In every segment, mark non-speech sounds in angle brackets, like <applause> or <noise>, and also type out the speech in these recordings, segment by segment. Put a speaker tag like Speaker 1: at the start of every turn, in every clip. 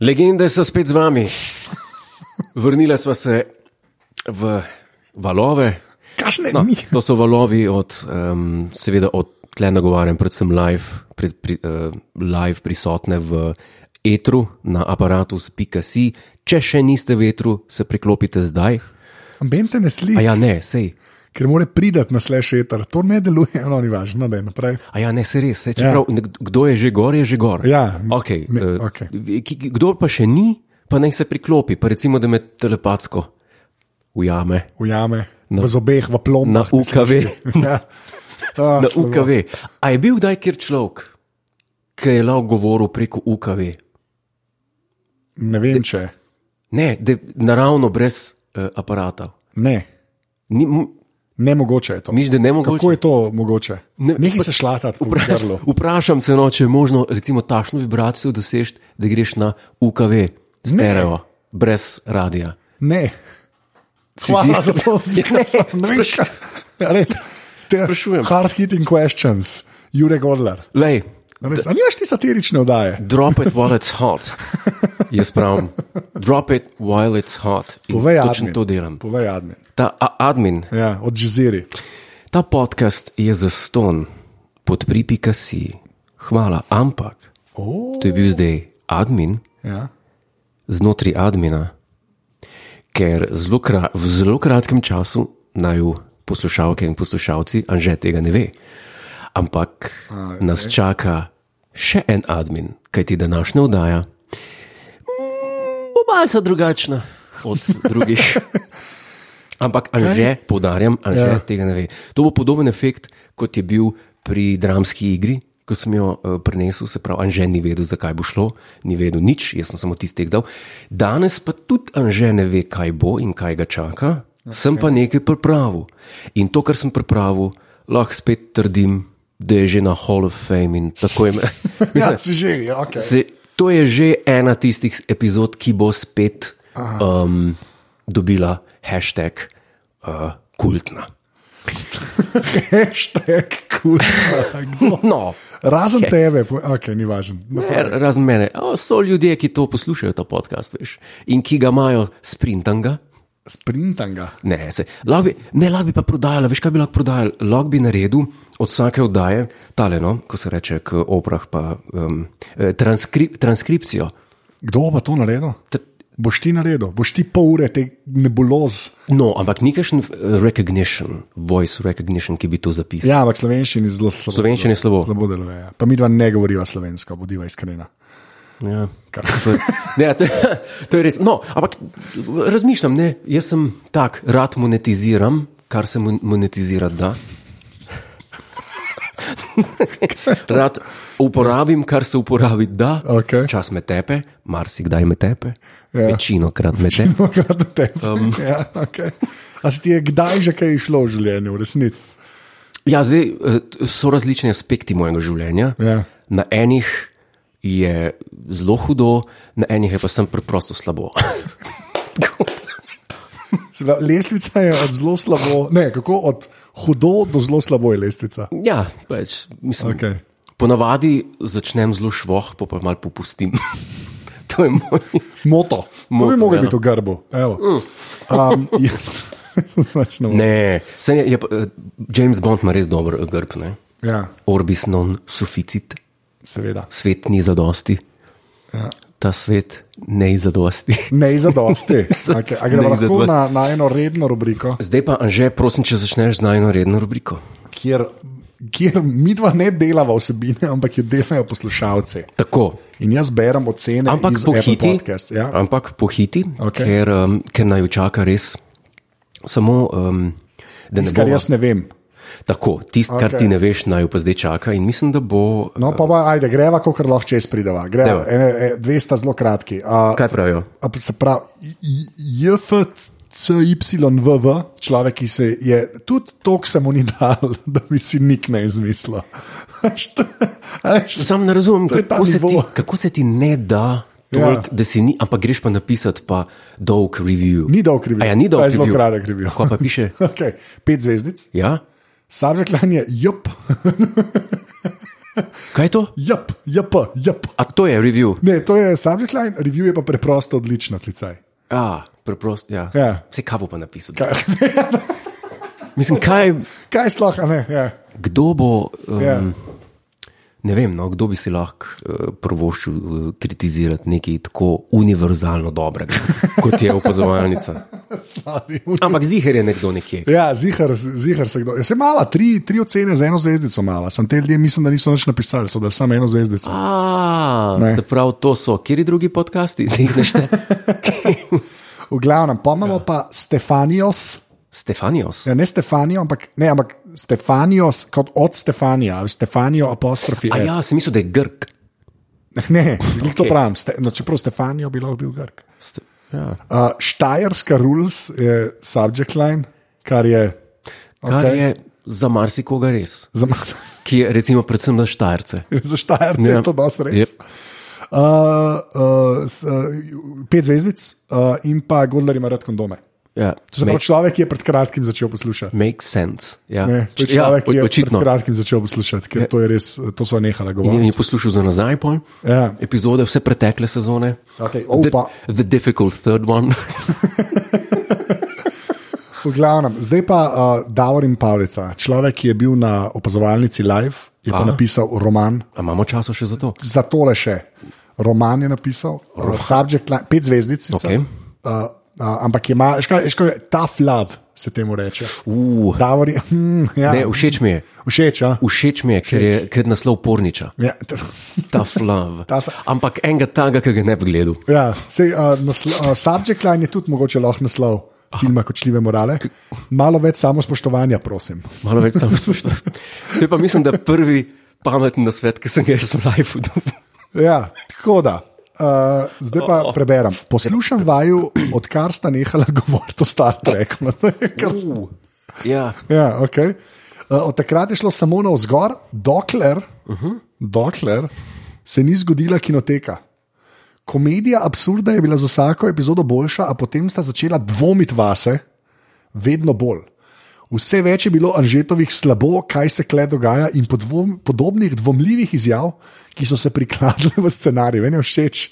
Speaker 1: Legende so spet z vami. Vrnila sva se v valove.
Speaker 2: Kašne no. mi?
Speaker 1: To so valovi od, um, seveda, od tle nagovarjam, predvsem live, pri, pri, uh, live prisotne v etru na aparatus.si. Če še niste v etru, se priklopite zdaj.
Speaker 2: Ambente ne
Speaker 1: A
Speaker 2: sliši, ja.
Speaker 1: ja, ne, sej.
Speaker 2: ker mora pridati na slash eter. To ne deluje, no ni važno, da je naprej.
Speaker 1: A ja, ne, se res. Se, čeprav, ja. Kdo je že gor, je že gor.
Speaker 2: Ja,
Speaker 1: okay,
Speaker 2: me-
Speaker 1: uh,
Speaker 2: okej.
Speaker 1: Kdo pa še ni, pa naj se priklopi, pa recimo, da me telepatsko ujame.
Speaker 2: Ujame, no. v zobeh, v plom.
Speaker 1: Na UKV.
Speaker 2: <laughs> ja. oh,
Speaker 1: Na UKV. A je bil kdaj kjer človek, ki je lao govoril preko UKV?
Speaker 2: Ne vem, če.
Speaker 1: Ne, de, naravno, brez uh, aparata.
Speaker 2: Ne.
Speaker 1: Ni, m-
Speaker 2: Ne mogoče je to.
Speaker 1: Nič, da je nemogoče.
Speaker 2: Kako je to mogoče?
Speaker 1: Ne-
Speaker 2: Ne, Nekaj
Speaker 1: pa-
Speaker 2: se šlatati,
Speaker 1: vpraš,
Speaker 2: upravljalo.
Speaker 1: <laughs> vprašam se, no, če je možno recimo, takšno vibracijo doseči, da greš na UKV, stereo, ne. brez radia.
Speaker 2: Ne.
Speaker 1: Si
Speaker 2: Hvala
Speaker 1: ti-
Speaker 2: za to,
Speaker 1: Ja, ne,
Speaker 2: da sem ne vem,
Speaker 1: sprašujem.
Speaker 2: kaj- Ja, res. Te
Speaker 1: Sprašujem.
Speaker 2: Hard hitting questions, Jure Godler.
Speaker 1: Lej,
Speaker 2: A res, A nimaš ti satirične oddaje?
Speaker 1: drop it while it's hot. Jaz pravim, drop it while it's hot. In
Speaker 2: Povej,
Speaker 1: točno
Speaker 2: admin.
Speaker 1: to delam.
Speaker 2: Povej, admin.
Speaker 1: Ta a, admin
Speaker 2: Ja, od Jeziri.
Speaker 1: Ta podcast je za ston, podpripika si. Hvala, ampak
Speaker 2: Oh.
Speaker 1: to je bil zdaj admin,
Speaker 2: Ja.
Speaker 1: znotraj admina, ker zelo kra, v zelo kratkem času naju poslušalke in poslušalci, anže tega ne ve. Ampak okay. nas čaka še en admin, kajti današnja oddaja mm, bo malce drugačna od drugih. Ampak anže, poudarjam, anže ja.
Speaker 2: Ja.
Speaker 1: tega ne ve. To bo podoben efekt, kot je bil pri dramski igri. Ko sem jo uh, prenesel, se pravi, Anže ni vedel, zakaj bo šlo, ni vedel nič, jaz sem samo tisti dal. Danes pa tudi Anže ne ve, kaj bo in kaj ga čaka, okay. sem pa nekaj pripravil. In to, kar sem pripravil, lahko spet trdim, da je že na Hall of Fame in tako <laughs> je.
Speaker 2: Ja, si že, ja, okay.
Speaker 1: Se, to je že ena tistih epizod, ki bo spet um, dobila hashtag uh, kultna. <laughs>
Speaker 2: Hashtag kurva. kdo?
Speaker 1: No,
Speaker 2: Razen tebe, po- ok, ni važno. No, Naprej.
Speaker 1: er, razen mene, o, so ljudje, ki to poslušajo, ta podcast, veš, in ki ga imajo sprintanga.
Speaker 2: Sprintam ga.
Speaker 1: Ne, se, lahko bi, ne, lahko bi pa prodajala, veš, kaj bi lahko prodajala. Lahko bi naredil od vsake oddaje, tale, no, ko se reče k oprah, pa um, transkri, transkripcijo.
Speaker 2: Kdo bo to naredil?
Speaker 1: T-
Speaker 2: Boš ti naredil, boš ti pol ure te nebuloz.
Speaker 1: No, ampak nekakšen eh, recognition, voice recognition, ki bi to zapisal.
Speaker 2: Ja, ampak slovenščini je zelo slabo.
Speaker 1: Slovenščini je slabo.
Speaker 2: Slabo deluje. Ja. Pa mi dva ne govoriva slovensko, bodiva iskrena.
Speaker 1: Ja. To je- Ne, to, je- to je res. No, ampak razmišljam, ne, jaz sem tak, rad monetiziram, kar se mon- monetizirati da. Rad uporabim, kar se uporabiti da.
Speaker 2: Okej.
Speaker 1: Čas me tepe, marsikdaj me tepe, ja.
Speaker 2: Ja.
Speaker 1: večino krat me
Speaker 2: <laughs>
Speaker 1: tepe.
Speaker 2: Um. Ja, okay. A si ti je kdaj že kaj išlo v življenju, v resnici?
Speaker 1: Ja, zdaj eh, so različni aspekti mojega življenja.
Speaker 2: Ja.
Speaker 1: Na enih je zelo hudo, na enih je pa sem preprosto slabo. <laughs>
Speaker 2: Se pravi, Lestvica je od zelo slabo, ne, kako od hudo do zelo slabo je lestvica.
Speaker 1: Ja, pač, mislim, okay.
Speaker 2: Okej.
Speaker 1: Ponavadi začnem zelo švoh, pa pa malo popustim. <laughs> to je moj.
Speaker 2: Moto, Moto bi
Speaker 1: Moto,
Speaker 2: mogel
Speaker 1: ja. Mm.
Speaker 2: ja. biti v grbu. Evo. Um, <laughs> je, pač ne morem.
Speaker 1: Ne, sem je, je, pa, eh, James Bond ima res dober eh, grb, ne?
Speaker 2: ja,
Speaker 1: Orbis non sufficit,
Speaker 2: seveda.
Speaker 1: svet ni zadosti.
Speaker 2: Ja.
Speaker 1: Ta svet ne zadosti. <laughs>
Speaker 2: Ne za dosti. Okay. A gremo
Speaker 1: Ne za dva.
Speaker 2: lahko na, na eno redno rubriko,
Speaker 1: Zdaj pa, Anže, prosim, če začneš z najno redno rubriko.
Speaker 2: kjer, kjer mi dva ne delava vsebine, ampak jo delajo poslušalci.
Speaker 1: Tako,
Speaker 2: In jaz berem ocene,
Speaker 1: ampak
Speaker 2: iz Apple
Speaker 1: pohiti,
Speaker 2: Podcast, ja.
Speaker 1: ampak pohiti okay.
Speaker 2: Okej.
Speaker 1: ker, um, ker naj jo čaka res samo, um, da ne
Speaker 2: Tisto, kar
Speaker 1: bova-
Speaker 2: jaz ne vem.
Speaker 1: Tako, tisto, okay. kar
Speaker 2: Okej.
Speaker 1: ti ne veš, naj jo pa zdaj čaka. In mislim, da bo.
Speaker 2: No, pa pa ajde, greva, ko kar lahko čez prideva. Greva,
Speaker 1: Dajva.
Speaker 2: ene, e, dve sta zelo kratki. Uh,
Speaker 1: Kaj pravijo?
Speaker 2: A pa Se pravi, JFCYVV, človek, ki se je tudi tok samo ni dal, <laughs> da bi si nik ne izmislil. <laughs>
Speaker 1: Sam ne razumem,
Speaker 2: To je ta
Speaker 1: kako se, ti,
Speaker 2: nivo.
Speaker 1: kako se ti ne da. Tolik, ja.
Speaker 2: Ja.
Speaker 1: Da si ni, ampak greš pa napisati, pa dolg review.
Speaker 2: Ni dolg review.
Speaker 1: A Ja, ni dolg
Speaker 2: Pa je zelo
Speaker 1: review.
Speaker 2: kratek review.
Speaker 1: Kaj pa piše?
Speaker 2: <laughs> okay. Pet zvezdic,
Speaker 1: Ja?
Speaker 2: subject line je jup.
Speaker 1: Kaj je to?
Speaker 2: Jap, jap, jap.
Speaker 1: A to je review.
Speaker 2: Ne, to je subject line, review je pa preprosto odlično, klicaj.
Speaker 1: Ja, preprosto. Ja.
Speaker 2: Ja.
Speaker 1: Se kavo pa napisal. <laughs> Mislim, kaj,
Speaker 2: Kaj sploh, a ne? Ja.
Speaker 1: kdo bo. Um,
Speaker 2: Ja. <laughs>
Speaker 1: Ne vem, no, kdo bi si lahko uh, provoščil uh, kritizirati nekaj tako univerzalno dobrega, kot je opazovalnica.
Speaker 2: Slavi.
Speaker 1: Ampak zihar je nekdo nekje.
Speaker 2: Ja, zihar, zihar se kdo. Jaz sem mala, tri, tri ocene za eno zvezdico mala. Sam te ljudje mislim, da niso nič napisali, so da samo eno zvezdico.
Speaker 1: A,
Speaker 2: Ne.
Speaker 1: se pravi, to so, kjer drugi podcasti, ti jih <laughs> nešte.
Speaker 2: V glavnem, pa imamo ja. pa Stefanijos,
Speaker 1: Stefanijos.
Speaker 2: ja, ne Stefanijo, ampak, ne, ampak Stefanijos kot od Stefanija, ali Stefanijo apostrofi.
Speaker 1: A
Speaker 2: S.
Speaker 1: ja, sem mislil, da je Grk.
Speaker 2: <laughs> Ne, okay. to
Speaker 1: Okej.
Speaker 2: pravim. Ste, no, čeprav Stefanijo bilo bil Grk.
Speaker 1: Ste, ja.
Speaker 2: Uh, Štajerska rules je subject line, kar je.
Speaker 1: Kar
Speaker 2: okej,
Speaker 1: okay. je za marsikoga res,
Speaker 2: Za,
Speaker 1: ki je recimo predvsem na Štajerce.
Speaker 2: <laughs> za Štajerce
Speaker 1: Ja.
Speaker 2: je to dosti res.
Speaker 1: Yep.
Speaker 2: Uh, uh, s, uh, pet zvezdic uh, in pa Gondar ima rad kondome.
Speaker 1: Ja.
Speaker 2: To je človek, ki je pred kratkim začel poslušati.
Speaker 1: Make sense. Ja.
Speaker 2: Ne, to je
Speaker 1: ja,
Speaker 2: človek, ki
Speaker 1: o-
Speaker 2: je pred
Speaker 1: očitno. Ja.
Speaker 2: kratkim začel poslušati, ker to je res, to so
Speaker 1: In
Speaker 2: nehala govoriti.
Speaker 1: je poslušal za nazaj pol.
Speaker 2: Ja.
Speaker 1: Epizode, vse pretekle sezone.
Speaker 2: Okay,
Speaker 1: the,
Speaker 2: opa,
Speaker 1: the difficult third one. <laughs>
Speaker 2: v glavnem, zdaj pa uh, Davor in Pavlica, človek, ki je bil na opazovalnici live, je pa
Speaker 1: Aha.
Speaker 2: napisal roman,
Speaker 1: A imamo časa še za to?
Speaker 2: za tole še. Roman je napisal, uh, subject line, pet zvezdic. sicer.
Speaker 1: Okej.
Speaker 2: Uh, uh, ampak ima, škaj, škaj, tough love se temu reče.
Speaker 1: Uh,
Speaker 2: Davor je, hm, ja,
Speaker 1: ne, všeč mi je.
Speaker 2: všeč, ja.
Speaker 1: Všeč mi je, ker je ker je naslov porniča.
Speaker 2: ja.
Speaker 1: Tough love.
Speaker 2: Tough-
Speaker 1: Ampak enega taga, ki ga ne bi gledal.
Speaker 2: Ja, sej, uh, naslo, uh, subject line je tudi mogoče lahko naslov filma Kočljive morale. Malo več samospoštovanja, prosim.
Speaker 1: Malo več samo spoštovanja. To je pa mislim, da prvi pameten nasvet, ki sem ga jaz v lifeu dobil.
Speaker 2: Ja, tako da. Uh, zdaj pa preberem. Poslušam vaju, odkar sta nehala govoriti o Star Treku. <laughs> Kar-
Speaker 1: Uh, ja.
Speaker 2: ja, okay. uh, od takrat je šlo samo na vzgor, dokler, uh -huh. dokler se ni zgodila kinoteka. Komedija absurda je bila z vsako epizodo boljša, a potem sta začela dvomiti vase, vedno bolj. Vse več je bilo anžetovih slabo, kaj se kle dogaja, in podvom, podobnih dvomljivih izjav, ki so se prikladile v scenarij. Meni je všeč,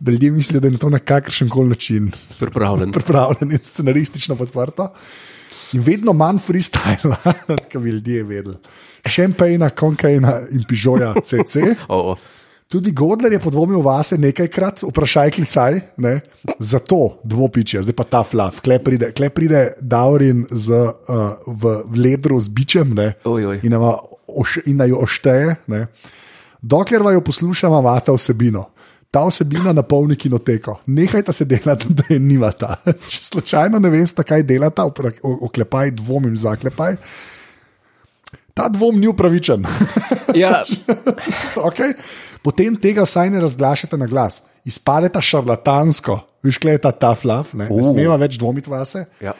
Speaker 2: da ljudje mislijo, da je to na kakršen koli način <laughs>
Speaker 1: Pripravljen.
Speaker 2: pripravljen in scenaristično podprto. In vedno manj freestyle, <laughs> kot bi ljudje vedeli. Šampajna, konkaina in pižoja, CC.
Speaker 1: O, o.
Speaker 2: Tudi Gordler je podvomil vase nekajkrat, vprašaj klicaj, ne? zato dvopiče, zdaj pa ta flav, kle pride, kle pride Daurin z, uh, v, v ledru z bičem ne?
Speaker 1: Oj, oj.
Speaker 2: in nama oš, in naj jo ošteje. Ne? Dokler vaju poslušam, ima ta vsebino. Ta vsebina napolni kinoteko. Nehajte se delati, da je nimata. <laughs> Če slučajno ne veste, kaj delata, opra- o- oklepaj, dvomim, zaklepaj. Ta dvom ni upravičen.
Speaker 1: Ja,
Speaker 2: <laughs> okay? Potem tega vsaj ne razglašate na glas. Izpadeta šarlatansko, viš, kaj je ta ta flav, ne, ne
Speaker 1: Uh.
Speaker 2: smeva več dvomiti vase.
Speaker 1: Ja.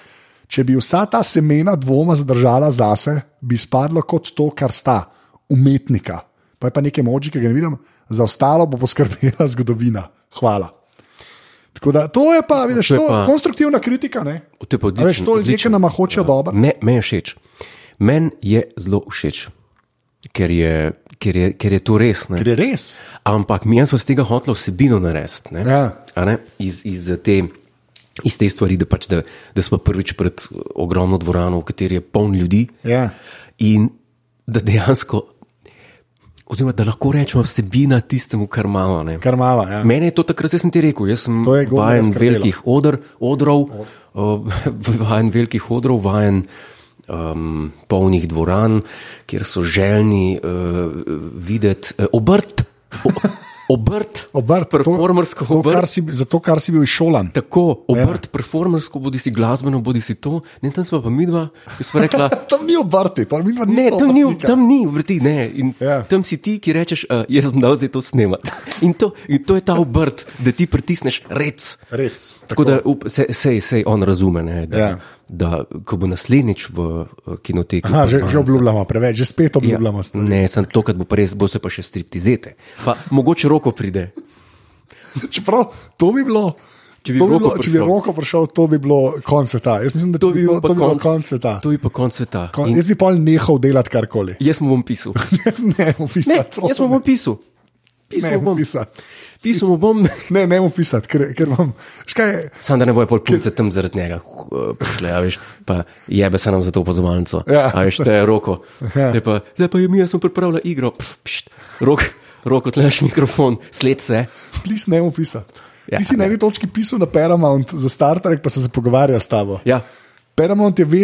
Speaker 2: Če bi vsa ta semena dvoma zadržala zase, bi izpadlo kot to, kar sta, umetnika. Pa je pa nekaj moči, ki ga ne vidim, za ostalo bo poskrbela <laughs> zgodovina. Hvala. Tako da, to je pa, vidiš,
Speaker 1: to je
Speaker 2: to,
Speaker 1: pa-
Speaker 2: konstruktivna kritika. Ne?
Speaker 1: to je pa
Speaker 2: A Veš,
Speaker 1: odlično.
Speaker 2: to ljudje, ki
Speaker 1: odlično.
Speaker 2: nam hočejo dobro.
Speaker 1: Ne, meni je všeč. Meni je zelo všeč, ker je, ker je, ker je to Ja. res. Ne?
Speaker 2: Ker je res.
Speaker 1: Ampak mi smo z tega hoteli vsebino narediti. ne.
Speaker 2: Ja.
Speaker 1: A ne? Iz, iz, te, iz te stvari, da, pač, da, da smo prvič pred ogromno dvorano, v kateri je poln ljudi.
Speaker 2: Ja.
Speaker 1: In da dejansko, oziroma da lahko rečemo vsebina tistemu, kar imamo. ne.
Speaker 2: Kar mava. Ja.
Speaker 1: Mene je to takrat, jaz sem ti rekel, jaz sem
Speaker 2: To je govno
Speaker 1: vajen
Speaker 2: skrbelo.
Speaker 1: velikih odr, odrov, uh, <laughs> vajen velikih odrov, vajen um, polnih dvoran, kjer so želni uh, videti uh, obrt,
Speaker 2: <laughs>
Speaker 1: o, obrt,
Speaker 2: Obrt,
Speaker 1: performersko
Speaker 2: to, to,
Speaker 1: obrt.
Speaker 2: kar si, zato, kar si bil izšolan.
Speaker 1: Tako, obrt, ja. performersko, bodi si glasbeno, bodi si to. Ne, tam smo pa mi dva, ki smo
Speaker 2: <laughs>
Speaker 1: rekla,
Speaker 2: Tam ni obrti, tam ni obrti.
Speaker 1: Ne, tam ni, tam ni obrti, ne. In
Speaker 2: Ja.
Speaker 1: ja. Tam si ti, ki rečeš, uh, jaz sem dal zdaj to snemati. <laughs> In to, in to je ta obrt, da ti pritisneš rec.
Speaker 2: Res.
Speaker 1: Tako da up- se, sej, sej on razume, ne, da,
Speaker 2: Ja.
Speaker 1: ja. da ko bo naslednjič v uh, kinoteki.
Speaker 2: Aha, že, že
Speaker 1: pozvan-
Speaker 2: obljubljamo preveč, že spet obljubljamo. Ja.
Speaker 1: Ne, sem to, kar bo pa res, bo se pa še striptizete. Pa mogoče roko pride.
Speaker 2: Čeprav to bi bilo
Speaker 1: Če bi
Speaker 2: To bi
Speaker 1: roko
Speaker 2: bilo, če bi
Speaker 1: prišel.
Speaker 2: roko prišel, to bi bilo konc sveta. Jaz mislim, da to bi bilo,
Speaker 1: pa
Speaker 2: to bi bilo
Speaker 1: konc-
Speaker 2: konc sveta.
Speaker 1: To bi pa konc sveta.
Speaker 2: Kon,
Speaker 1: In
Speaker 2: jaz bi pol nehal delati
Speaker 1: <laughs>
Speaker 2: karkoli.
Speaker 1: Jaz mu bom
Speaker 2: <laughs>
Speaker 1: pisal.
Speaker 2: Jaz ne bom
Speaker 1: Ne,
Speaker 2: pisal.
Speaker 1: jaz mu bom pisal. Pisal
Speaker 2: ne
Speaker 1: mu bom.
Speaker 2: bom pisal.
Speaker 1: Pisal mu
Speaker 2: <laughs>
Speaker 1: bom. <laughs>
Speaker 2: Ne, ne bom pisal, ker, ker bom. Škaj,
Speaker 1: Sam da ne bojo pol punce tam zaradi njega uh, prišle, a veš, pa jebe se nam za to opazovalnico.
Speaker 2: Ja.
Speaker 1: A veš, te je roko. Lepa, lepa je mi, jaz sem pripravila igro. Pš, pšt, rok, roko tleš mikrofon, sled se.
Speaker 2: plis ne bom pisal.
Speaker 1: Ja,
Speaker 2: Ja, Ti si na
Speaker 1: ne.
Speaker 2: eni točki pisal na Paramount za Star Trek, pa se pogovarja s tabo.
Speaker 1: Ja,
Speaker 2: Paramount je ve,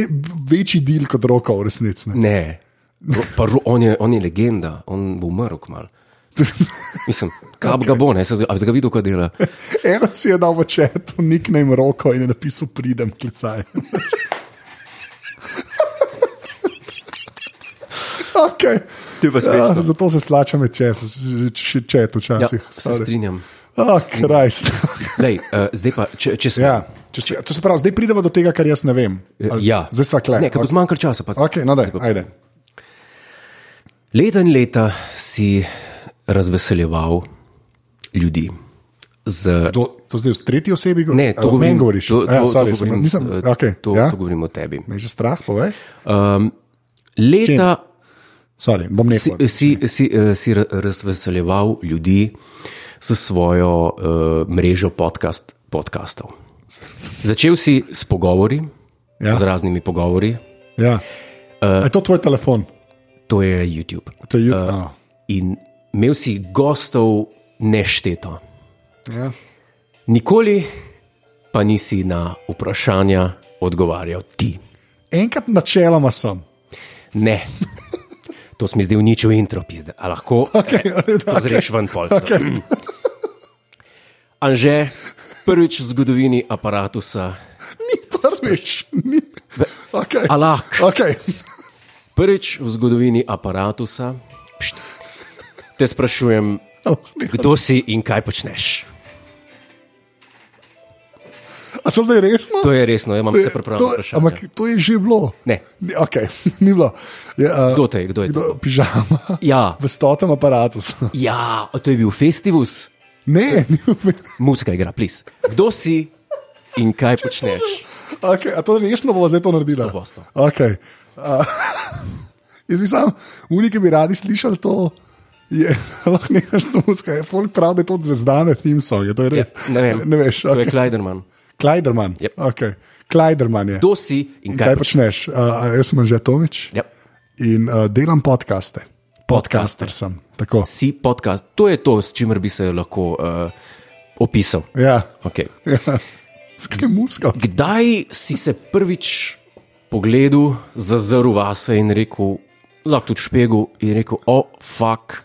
Speaker 2: večji del kot roka, v resnici. ne. <laughs>
Speaker 1: ne. Ro, pa, ro, on, je, on je legenda, on bo umrl kmalu. Mislim, kab okay. ga bo, ne, se, a bi ga videl, kaj dela.
Speaker 2: Eno si je dal v čet, nik naj jim roko in je napisal: pridem, klicaj. <laughs> okay.
Speaker 1: To je pa
Speaker 2: ja,
Speaker 1: smešno.
Speaker 2: zato se slačam, če še čet
Speaker 1: Ja,
Speaker 2: včasih.
Speaker 1: se strinjam.
Speaker 2: Oh,
Speaker 1: <laughs>
Speaker 2: Krajst.
Speaker 1: Lej, uh, zdaj pa, če, če se.
Speaker 2: ja, če, če, to se pravi, zdaj pridemo do tega, kar jaz ne vem. Ali-
Speaker 1: Ja.
Speaker 2: Zdaj sva kle.
Speaker 1: Ne, ker bo zmanjkalo časa. Pa,
Speaker 2: Ok, no, daj, ajde.
Speaker 1: Leta in leta si razveseljeval ljudi. Z,
Speaker 2: Do, to zdaj v tretji osebi govoriš?
Speaker 1: ne, to govorim,
Speaker 2: meni govoriš.
Speaker 1: To, to,
Speaker 2: ja, sorry,
Speaker 1: to govorim,
Speaker 2: sem, nisem,
Speaker 1: eh,
Speaker 2: okay,
Speaker 1: to,
Speaker 2: ja?
Speaker 1: to govorim o tebi.
Speaker 2: Me je že strah, povej.
Speaker 1: Um, leta
Speaker 2: Sorry, bom
Speaker 1: si,
Speaker 2: nekaj.
Speaker 1: si, si, eh, si ra- razveseljeval ljudi s svojo uh, mrežo podcast, podkastov. Začel si s pogovori,
Speaker 2: Ja.
Speaker 1: z raznimi pogovori,
Speaker 2: Ja.
Speaker 1: Eh,
Speaker 2: Uh, je to tvoj telefon?
Speaker 1: to je YouTube.
Speaker 2: To
Speaker 1: eh.
Speaker 2: je YouTube. Uh,
Speaker 1: In imel si gostov nešteto.
Speaker 2: ja.
Speaker 1: Nikoli pa nisi na vprašanja odgovarjal ti.
Speaker 2: Enkrat načeloma sem.
Speaker 1: Ne.
Speaker 2: <laughs>
Speaker 1: To si mi zdaj uničil intro, pizde. A lahko okay, eh, to zreš ven pol. Okay. Anže, prvič v zgodovini aparatusa,
Speaker 2: Ni pa smeš. Ni. Okay.
Speaker 1: A lahko?
Speaker 2: Okay.
Speaker 1: prvič v zgodovini aparatusa, pšt, te sprašujem, kdo si in kaj počneš.
Speaker 2: A to zdaj resno?
Speaker 1: To je resno, jaz imam vse
Speaker 2: to,
Speaker 1: pripravljeno vprašanje.
Speaker 2: ampak to je že bilo.
Speaker 1: Ne.
Speaker 2: Ni- Okay, <laughs> ni bilo. Je, uh,
Speaker 1: Kdo te je, kdo je to?
Speaker 2: Kdo, pižama.
Speaker 1: Ja,
Speaker 2: V stotem aparatu. sem.
Speaker 1: ja, to je bil festivus.
Speaker 2: Ne, ni bilo.
Speaker 1: Muzika igra, plis. Kdo si in kaj počneš?
Speaker 2: Okay, a to resno bo zdaj to naredila?
Speaker 1: Sto posto.
Speaker 2: Okay. Uh, <laughs> jaz bi sam, unike bi radi slišali to. Je <laughs> lahko nekaj snovska, folk pravi, da je to od zvezdane theme songe, to je
Speaker 1: Ja,
Speaker 2: res.
Speaker 1: ne vem.
Speaker 2: ne veš.
Speaker 1: To je
Speaker 2: Okay.
Speaker 1: Kleiderman.
Speaker 2: Klajderman.
Speaker 1: Yep.
Speaker 2: Okay. Klajderman je.
Speaker 1: Kdo si in
Speaker 2: Kaj
Speaker 1: kaj počneš?
Speaker 2: počneš? Uh, jaz sem že Tomič
Speaker 1: Ja.
Speaker 2: in uh, delam podcaste.
Speaker 1: Podcaster.
Speaker 2: Podcaster sem. Tako.
Speaker 1: Si podcast. To je to, s čimer bi se lahko uh, opisal.
Speaker 2: Ja. <laughs>
Speaker 1: Okay.
Speaker 2: ja. Skaj muska. <laughs>
Speaker 1: Kdaj si se prvič pogledal, zazrl vase in rekel, lahko tudi špegu, in rekel, o, oh, fuk,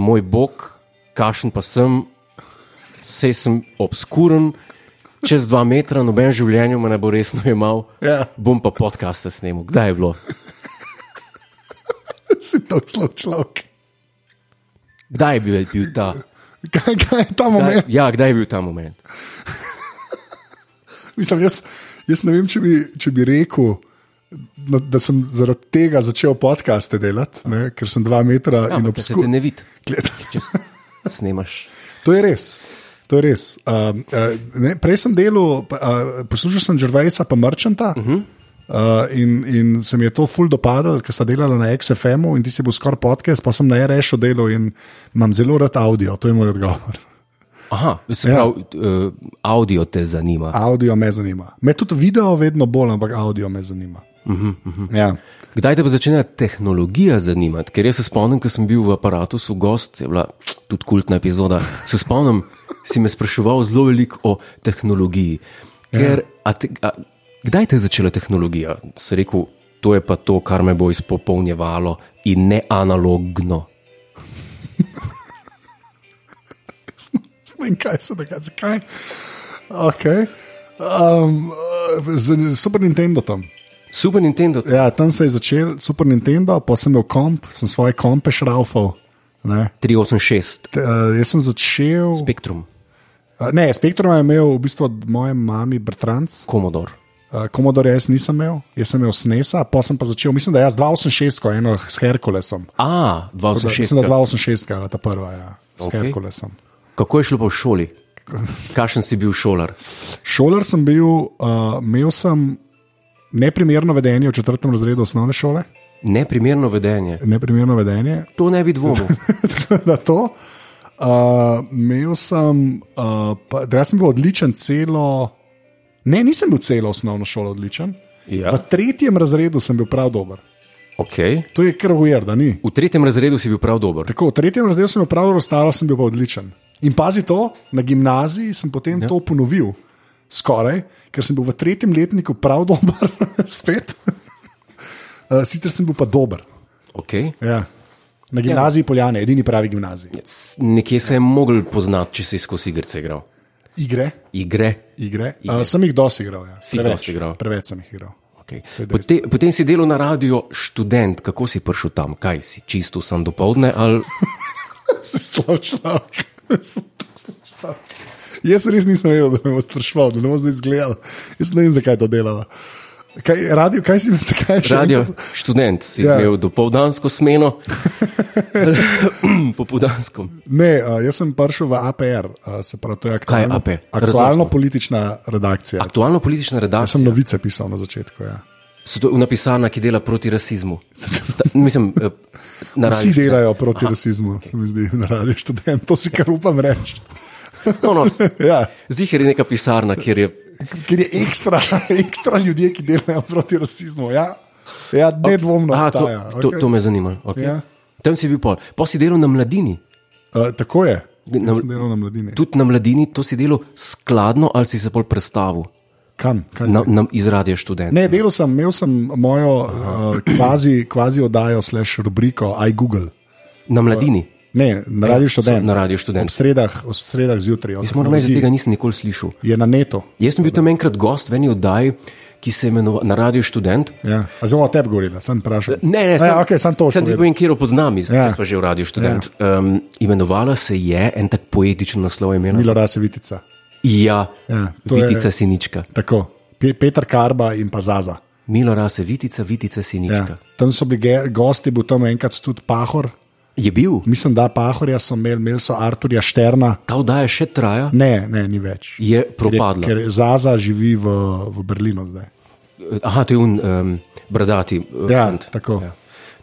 Speaker 1: moj bog, kašen pa sem, sej sem obskuren, čez dva metra, noben življenje me ne bo resno imel,
Speaker 2: Ja.
Speaker 1: bom pa podcaste snemal. Kdaj je bilo?
Speaker 2: Si to slov človek.
Speaker 1: Kdaj je bil, bil ta?
Speaker 2: Kaj, kaj je ta
Speaker 1: Kdaj,
Speaker 2: moment?
Speaker 1: ja, kdaj je bil ta moment?
Speaker 2: Mislim, jaz, jaz ne vem, če bi, če bi rekel, da, da sem zaradi tega začel podcaste delati, ne, ker sem dva metra
Speaker 1: Ja,
Speaker 2: in
Speaker 1: ampak se te
Speaker 2: obskuren.
Speaker 1: ne vidi, če s- snemaš.
Speaker 2: To je res. To je res. Um, uh, ne, prej sem delal, pa, uh, poslušal sem Džrvajsa, pa Merchanta. Uh
Speaker 1: Mhm.
Speaker 2: -huh. Uh, in, in se mi je to ful dopadalo, ker sta delala na XFM-u in ti si bil skoraj podcast, pa sem na RS-u delal in imam zelo rad avdio, to je moj odgovor.
Speaker 1: Aha, se pravi, ja. uh, audio te zanima.
Speaker 2: Avdio me zanima. Me tudi video vedno bolj, ampak avdio me zanima. Uh
Speaker 1: Mhm,
Speaker 2: -huh, uh -huh. Ja.
Speaker 1: Kdaj te pa začne tehnologija zanimati? Ker jaz se spomnim, ko sem bil v aparatu, so gost, je bila tudi kultna epizoda. Se spomnim, si me spraševal zelo veliko o tehnologiji. Ker,
Speaker 2: Ja.
Speaker 1: a te, a, kdaj te je začela tehnologija? Se rekel, to je pa to, kar me bo izpopolnjevalo in ne analogno.
Speaker 2: Ne <laughs> vem, kaj se dogaja, zakaj. Okay. Um, uh, z z Super Nintendo tam.
Speaker 1: Super Nintendo,
Speaker 2: Ja, tam se je začel Super Nintendo, pa sem imel komp, sem svoje kompe šraufal. Ne.
Speaker 1: 386,
Speaker 2: T- Uh, jaz sem začel. Spe
Speaker 1: Spectrum,
Speaker 2: uh, ne, Spektrum je imel v bistvu od moje mame, bratranc,
Speaker 1: Commodore.
Speaker 2: uh, komodor jaz nisem imel, jaz sem imel snesa, pa sem pa začel, mislim, da jaz 286, ko eno s Herkulesom.
Speaker 1: A,
Speaker 2: Da, mislim, da
Speaker 1: 286.
Speaker 2: 286 je bila ta prva, ja, s
Speaker 1: Ok.
Speaker 2: okay. Herkulesom.
Speaker 1: Kako je šlo pa v šoli? Kakšen si bil šolar?
Speaker 2: Šolar sem bil, uh, imel sem neprimerno vedenje v četrtem razredu osnovne šole,
Speaker 1: Neprimerno vedenje.
Speaker 2: neprimerno vedenje, <laughs>
Speaker 1: To ne bi dvomil.
Speaker 2: tako da to. Uh, imel sem, uh, pa, da sem bil odličen celo, ne, nisem bil celo osnovno šolo odličen.
Speaker 1: Ja.
Speaker 2: V tretjem razredu sem bil prav dober.
Speaker 1: Okay.
Speaker 2: To je kar ujer, da ni.
Speaker 1: V tretjem razredu si bil prav dober.
Speaker 2: Tako, v tretjem razredu sem opravil razstavo, sem bil pa odličen. In pazi to, na gimnaziji sem potem ja. to ponovil, skoraj, ker sem bil v tretjem letniku prav dober, <laughs> spet. Eh, Sicer sem bil pa dober.
Speaker 1: Okay.
Speaker 2: Ja. Na gimnaziji Poljane, edini pravi gimnaziji.
Speaker 1: S- Nekje se je mogel poznati, če si skozi igrice igral.
Speaker 2: Igre,
Speaker 1: Igre.
Speaker 2: igre. igre. Uh, sem jih dosti igral. Ja.
Speaker 1: Si jih dosti igral.
Speaker 2: Preveč sem jih igral. <laughs>
Speaker 1: Okay. Pote, potem si delal na radiju študent, kako si prišel tam, kaj si čisto sam dopoledne
Speaker 2: <laughs>
Speaker 1: ali
Speaker 2: Slab človek. <laughs> Slab človek. Jaz res nisem vedel, da me bo sprašval, da ne bo zdaj izgledal. Jaz ne vem, zakaj to delava. Kaj, radio, kaj si <laughs> mi zakaj še?
Speaker 1: radio
Speaker 2: enkrat?
Speaker 1: študent, si
Speaker 2: Ja.
Speaker 1: ja. imel dopoldansko
Speaker 2: <laughs>
Speaker 1: smeno, <clears throat> popoldansko.
Speaker 2: Ne, uh, jaz sem prišel v APR, uh, se pravi, to je aktualno,
Speaker 1: AP?
Speaker 2: aktualno
Speaker 1: Razložimo.
Speaker 2: politična redakcija. Ak
Speaker 1: Aktualno politična
Speaker 2: sem
Speaker 1: redakcija
Speaker 2: novice pisal na začetku. Ja.
Speaker 1: so to napisana, ki dela proti rasizmu. Ta, mislim, eh, na
Speaker 2: Vsi
Speaker 1: radiju.
Speaker 2: delajo proti Aha, rasizmu, okay. se mi zdi, na radiu študent, to si kar upam reči. <laughs>
Speaker 1: No, no,
Speaker 2: ja.
Speaker 1: Zihar je neka pisarna, kjer je
Speaker 2: Ker je ekstra, <laughs> ekstra ljudje, ki delajo proti rasizmu. Ja, ja nedvomno.
Speaker 1: Aha, to,
Speaker 2: obstaja,
Speaker 1: to,
Speaker 2: okej.
Speaker 1: to me zanima. Okay.
Speaker 2: Ja.
Speaker 1: Ja. Tam si bil pol, pa si delal na mladini.
Speaker 2: Uh, tako je.
Speaker 1: Na-
Speaker 2: Na, na mladini. Tu,
Speaker 1: Tudi na mladini to si delal skladno, ali si se pol predstavil
Speaker 2: kam? Kaj?
Speaker 1: na, na izradje študent.
Speaker 2: Ne, delal sem, imel sem mojo uh, kvazi, kvazi oddajo, slash rubriko iGoogle.
Speaker 1: Na mladini.
Speaker 2: Ne, na radiju študent.
Speaker 1: Na radiju študent.
Speaker 2: Ob sredah, ob sredah zjutraj. o
Speaker 1: Jaz moram reči, da
Speaker 2: tehnologiji.
Speaker 1: tega nisem nikoli slišal.
Speaker 2: Je na netu.
Speaker 1: Jaz sem bil tam enkrat gost v eni oddaji, ki se je imenovala na radiju študent.
Speaker 2: Ja. A Zelo o tebi govorila, sem vprašal.
Speaker 1: Ne, ne,
Speaker 2: A
Speaker 1: sem,
Speaker 2: ja, okay, sem to
Speaker 1: sem ti
Speaker 2: povedal.
Speaker 1: povem, kjer jo poznam, iz,
Speaker 2: Ja.
Speaker 1: ja. pa že v radiju študent. Ja. Um, imenovala se je, en tak poetičen naslov je imela.
Speaker 2: Milo Rase Vitica.
Speaker 1: Ja,
Speaker 2: Ja,
Speaker 1: ja
Speaker 2: to je-
Speaker 1: Vitica je... Sinička.
Speaker 2: Tako. Pe- Peter Karba in pa Zaza.
Speaker 1: Milo rase, Vitica, Vitica
Speaker 2: Ja.
Speaker 1: Sinička. Ja.
Speaker 2: Tam so bili ge- gosti, bil tam enkrat tudi Pahor.
Speaker 1: Je bil?
Speaker 2: Mislim, da Pahorja so imeli, imeli so Arturja Šterna.
Speaker 1: Ta oddaja še traja,
Speaker 2: Ne, ne, ni več.
Speaker 1: je
Speaker 2: Ker je-
Speaker 1: propadla.
Speaker 2: Ker Zaza živi v, v Berlinu zdaj.
Speaker 1: Aha, to je un um, bradati. eh,
Speaker 2: Ja,
Speaker 1: fant.
Speaker 2: tako.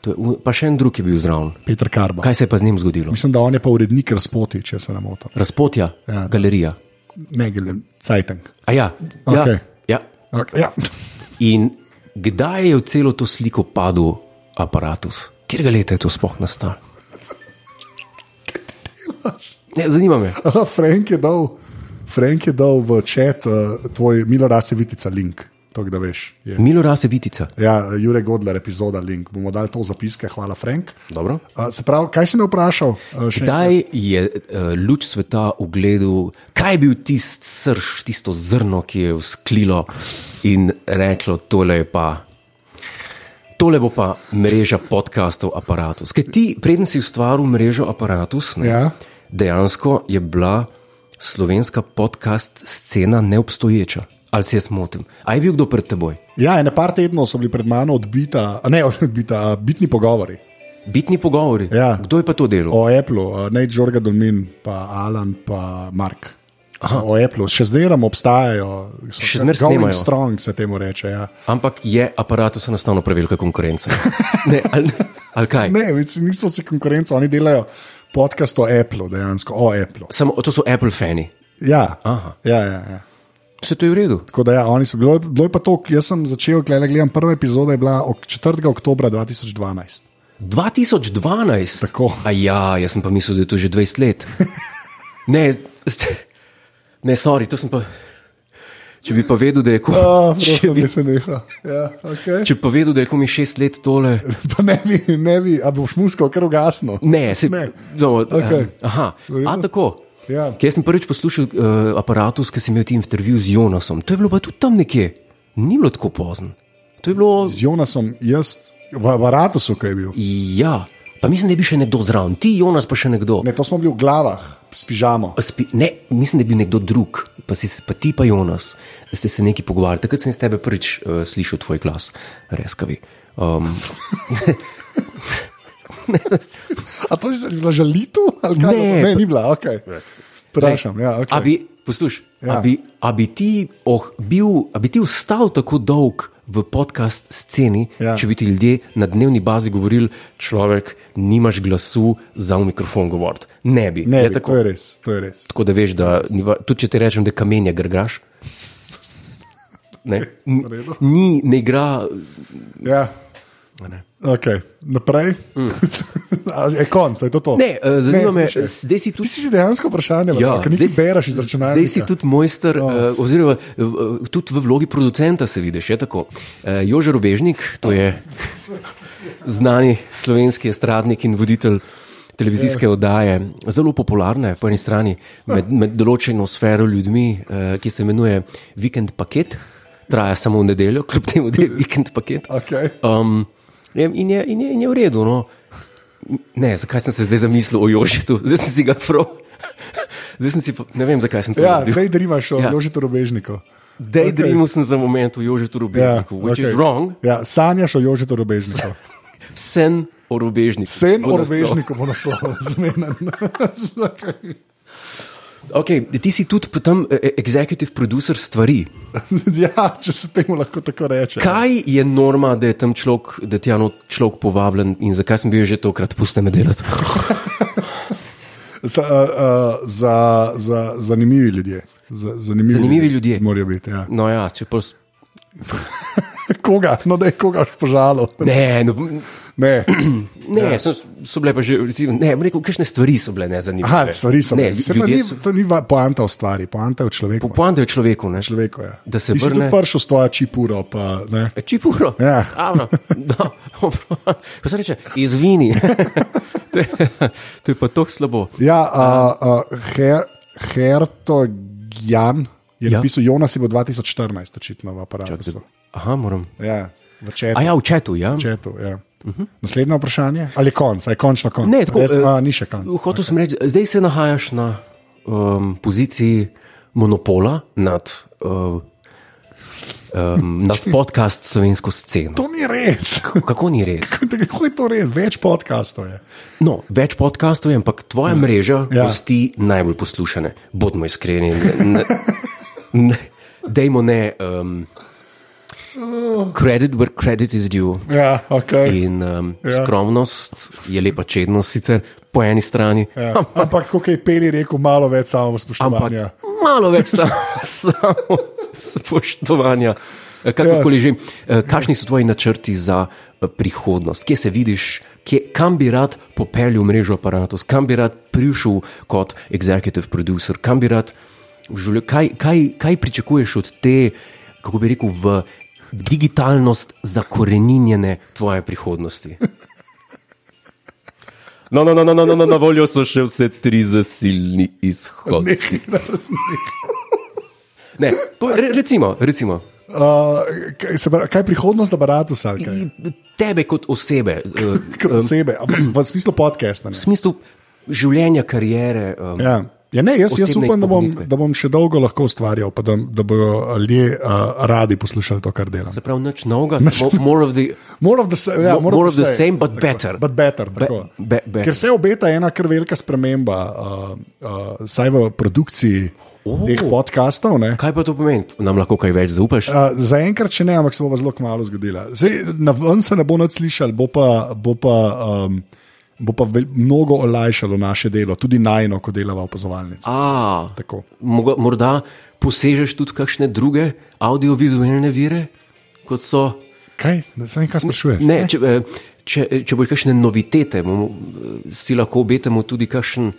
Speaker 1: To je un, pa še en drug je bil zraven.
Speaker 2: Peter Karba. Kaj?
Speaker 1: Kaj se je pa z njim zgodilo?
Speaker 2: Mislim, da on je pa urednik razpoti, če se ne motim.
Speaker 1: Razpotja,
Speaker 2: Ja.
Speaker 1: ja. galerija.
Speaker 2: Ne, gledam, Cajtank.
Speaker 1: A ja, ja,
Speaker 2: Okej.
Speaker 1: okay. ja.
Speaker 2: Okay, ja.
Speaker 1: In kdaj je v celo to sliko padel aparatus? Kjer ga leta je to sploh
Speaker 2: <laughs>
Speaker 1: nastalo? Ne, zanima me.
Speaker 2: <laughs> Aha, Frank je dal, Frank je dal v čat uh, tvoj Milo Rasevitica link, tako da veš. Je.
Speaker 1: Milo rase Vitica.
Speaker 2: Ja, Jure Godler, epizoda link. Bomo dali to v zapiske, hvala Frank.
Speaker 1: Dobro.
Speaker 2: Uh, se pravi, kaj si me vprašal? Uh, še enkrat?
Speaker 1: Kdaj je uh, luč sveta ugledal, kaj je bil tisti srž, tisto zrno, ki je vzklilo in reklo: tole je pa. Tole bo pa mreža podkastov aparatus. Ker ti, preden si ustvaril mrežo aparatus, ne,
Speaker 2: Ja.
Speaker 1: dejansko je bila slovenska podcast scena neobstoječa. Ali se jaz motim? A je bil kdo pred teboj?
Speaker 2: ja, ene par tednov so bili pred mano odbita, a ne <laughs> odbita, a bitni pogovori.
Speaker 1: Bitni pogovori.
Speaker 2: Ja.
Speaker 1: Kdo je pa to delal?
Speaker 2: O Apple, ne Jorga Dolmin, pa Alan, pa Mark. So O Apple, še zdaj nam obstajajo, so
Speaker 1: Še
Speaker 2: ga-
Speaker 1: zmeraj
Speaker 2: going
Speaker 1: snemajo.
Speaker 2: Strong se temu reče. Ja.
Speaker 1: Ampak je aparatus enostavno prevelika konkurenca. Ne, ali, ali kaj?
Speaker 2: Ne, mi si- nismo si konkurenca, oni delajo podcast o Apple, dejansko o Apple.
Speaker 1: Samo to so Apple fani.
Speaker 2: Ja,
Speaker 1: Aha.
Speaker 2: ja, ja, ja.
Speaker 1: Vse to je v redu.
Speaker 2: Tako da, ja, oni so bili, bilo je pa to, jaz sem začel, gledaj, gledam, prva epizoda je bila ok- 4. oktober 2012.
Speaker 1: 2012.
Speaker 2: Tako.
Speaker 1: A ja, jaz sem pa mislil, da je to že 20 let. <laughs> Ne, ne, sorry, to sem pa. Če bi pa vedel, da je komaj, <laughs>
Speaker 2: Oh,
Speaker 1: če,
Speaker 2: prosim, da se neha. Ja, okay.
Speaker 1: če bi pa vedel, da je komaj šest let tole.
Speaker 2: Pa ne bi, ne bi, a boš musko kar ugasnil.
Speaker 1: Ne, se
Speaker 2: Ne.
Speaker 1: No,
Speaker 2: Okej.
Speaker 1: okay. Aha,
Speaker 2: Verjetno.
Speaker 1: a tako.
Speaker 2: Ja.
Speaker 1: Ker jaz sem prvič poslušal uh, aparatus, ki sem imel ti intervju z Jonasom. To je bilo pa tudi tam nekje. Ni bilo tako pozno. To je bilo
Speaker 2: Z Jonasom, jaz, v Varatosu, kaj je bil.
Speaker 1: Ja, pa mislim, da je bil še nekdo zraven, ti, Jonas, pa še nekdo. Ne,
Speaker 2: Ne, to smo bili v glavah, s pižamo.
Speaker 1: Spi, ne mislim, da je bil nekdo drug, pa, si, s- pa ti, pa Jonas, da ste se nekaj pogovarjali. Takrat sem iz tebe prvič uh, slišal tvoj glas, reskavi. Um,
Speaker 2: A to je bila žalitev? ali kaj?
Speaker 1: Ne.
Speaker 2: ne, ni bila, ok. Vprašam, ja,
Speaker 1: A
Speaker 2: okay.
Speaker 1: bi, posluš, ja.
Speaker 2: Ja.
Speaker 1: a bi, a bi, ti oh, bil, a bi ti ostal tako dolg v podcast sceni, ja.
Speaker 2: Ja.
Speaker 1: če bi ti ljudje na dnevni bazi govorili, človek, nimaš glasu za v mikrofon govoriti? Ne bi.
Speaker 2: ne,
Speaker 1: Je
Speaker 2: bi,
Speaker 1: tako,
Speaker 2: to je res. To je res.
Speaker 1: tako da veš, da niva, tudi če ti rečem, da kamenje grgaš. Ne, n- ni, ne igra.
Speaker 2: Ja.
Speaker 1: Ne.
Speaker 2: Okay. Naprej. Mm. je konc, <laughs> a je to to.
Speaker 1: Ne, eh, zanima me,
Speaker 2: ni še.
Speaker 1: zdaj si tudi
Speaker 2: Ti si si dejansko vprašanje, ja, kaj ti
Speaker 1: si-
Speaker 2: beraš iz računalnika.
Speaker 1: Zdaj si tudi mojster, no. uh, oziroma uh, tudi v vlogi producenta se vidiš. je tako. Uh, Jože Robežnik, to je znani slovenski estradnik in voditelj.
Speaker 2: Ja.
Speaker 1: Televizijske oddaje, zelo popularne po eni strani med, med določeno sfero ljudi, eh, ki se imenuje Weekend Paket, traja samo v nedeljo, kljub temu,
Speaker 2: <laughs>
Speaker 1: da je Weekend Paket.
Speaker 2: Okay.
Speaker 1: Um, ne vem, in, je, in, je, in je v redu. No. Ne, zakaj sem se zdaj zamislil o Jožitu, zdaj sem si ga prav. Zdaj sem si, pa- ne vem, zakaj sem to
Speaker 2: Ja,
Speaker 1: naredil.
Speaker 2: zdaj drimaš o
Speaker 1: Ja.
Speaker 2: ja. Jožitu Robežniku.
Speaker 1: Dej dreamu sem za moment o Jožitu
Speaker 2: Ja,
Speaker 1: Rubežniku, which okay. is wrong,
Speaker 2: okay. ja, sanjaš o Jožitu Robežniku.
Speaker 1: sen o Rubežniku.
Speaker 2: Sen o Robežniku bo naslov zmeden.
Speaker 1: Okay, ti si tudi p- tam eh, executive producer stvari.
Speaker 2: ja, če se temu lahko tako reče.
Speaker 1: Kaj je norma, da je tam človek, da je tja not človek povabljen in zakaj sem bil že tokrat puste me delati?
Speaker 2: Za, uh, za, za, zanimivi ljudje. Za, zanimivi,
Speaker 1: Zanimivi ljudje.
Speaker 2: Morajo biti. Ja. <laughs>
Speaker 1: No ja, če pa... s-
Speaker 2: Koga, no da je koga požalo.
Speaker 1: Ne, no, <clears throat>
Speaker 2: Ne.
Speaker 1: Ne, ja. so, so bile pa že, recimo, ne, bom rekel, kakšne stvari so bile nezanimive.
Speaker 2: Aha, stvari so.
Speaker 1: Ne,
Speaker 2: Ne, se, to,
Speaker 1: ljudje
Speaker 2: ni,
Speaker 1: so-
Speaker 2: to ni va- poanta o stvari, poanta je o človeku.
Speaker 1: Poanta je v človeku, ne?
Speaker 2: človeku ja.
Speaker 1: Da se
Speaker 2: Ti si
Speaker 1: vrne-
Speaker 2: tudi prišel s toja čipuro. Pa, ne.
Speaker 1: E, Čipuro.
Speaker 2: Ja.
Speaker 1: Avno, da, Ko se reče, izvini.
Speaker 2: <laughs>
Speaker 1: to, je, to je pa tako slabo.
Speaker 2: ja, uh, uh, Her, Hertogjan je
Speaker 1: Ja.
Speaker 2: ja. napisal, Jonas je bil 2014, očitno v aparatu.
Speaker 1: Aha, moram.
Speaker 2: Ja, v četu.
Speaker 1: A ja, v četu, ja.
Speaker 2: četu ja. Uh -huh. Naslednje vprašanje, ali je konc, ali je končno konc?
Speaker 1: Ne, tako,
Speaker 2: Jaz,
Speaker 1: eh,
Speaker 2: a, ni še konc.
Speaker 1: Hotel sem reči, zdaj se nahajaš na um, poziciji monopola nad, uh, um,
Speaker 2: <laughs>
Speaker 1: nad podcast slovensko sceno.
Speaker 2: To ni res. <laughs>
Speaker 1: Kako ni res?
Speaker 2: Kako je to res? Več podkastov je.
Speaker 1: No, več podkastov je, ampak tvoja mreža ja.
Speaker 2: Ja.
Speaker 1: pusti najbolj poslušane. Bodimo iskreni. Ne, ne, dejmo ne. Um, credit where credit is due.
Speaker 2: Ja, okay.
Speaker 1: In um, ja.
Speaker 2: Ja.
Speaker 1: skromnost je lepa čednost, sicer po eni strani, ja.
Speaker 2: Ja. Ampak, kot je Peli rekel, malo več samo
Speaker 1: ampak
Speaker 2: spoštovanja.
Speaker 1: ja. malo več samo samo spoštovanja. Eh, Kakorkoli že, eh, kakšni so tvoji načrti za eh, prihodnost, kje se vidiš, kje, kam bi rad popeljal mrežo aparatov, kam bi rad prišel kot executive producer, kam bi rad v življenju, kaj, kaj, kaj pričakuješ od te, kako bi rekel, v digitalnost zakoreninjene tvoje prihodnosti? No, no, no, no, no, no, no, na voljo so še vse tri zasilni izhodi.
Speaker 2: <laughs> Nekaj raznih.
Speaker 1: Ne, po, re, recimo, recimo
Speaker 2: Uh, kaj, se pravi, kaj je prihodnost aparata? Kaj?
Speaker 1: tebe kot osebe, eh,
Speaker 2: Kot osebe, ampak v smislu podcasta. Ne?
Speaker 1: v smislu življenja, karijere. eh,
Speaker 2: Ja. Ja, ne, jaz, jaz
Speaker 1: Osebne
Speaker 2: upam, da bom,
Speaker 1: izpopolnitve.
Speaker 2: da bom še dolgo lahko ustvarjal, pa da, da bodo ljudje uh, radi poslušali to, kar delam.
Speaker 1: Se pravi, nič novega, mo- more of the.
Speaker 2: More of the, sa- ja,
Speaker 1: Mo-
Speaker 2: more
Speaker 1: more
Speaker 2: of the same,
Speaker 1: but
Speaker 2: tako,
Speaker 1: better.
Speaker 2: But better tako.
Speaker 1: be- better.
Speaker 2: Ker se obeta ena kar velika sprememba, uh, uh, saj v produkciji
Speaker 1: Oh.
Speaker 2: oh. teh podkastov. ne.
Speaker 1: Kaj pa to pomeni? Nam lahko kaj več zaupaš?
Speaker 2: Uh, Zaenkrat še ne, ampak se bo pa zelo kmalo zgodila. Zdaj, na ven se ne bo nič slišal, bo pa, bo pa, um, bo pa vel, mnogo olajšalo naše delo, tudi najno, ko delava opazovalnica.
Speaker 1: A,
Speaker 2: Tako.
Speaker 1: mogo- morda posežeš tudi kakšne druge audiovizualne vire, kot so.
Speaker 2: Kaj? Ne vem, kaj sprašuješ.
Speaker 1: Ne, če, eh, če, če boš kakšne novitete, bomo, eh, si lahko obetamo tudi kakšen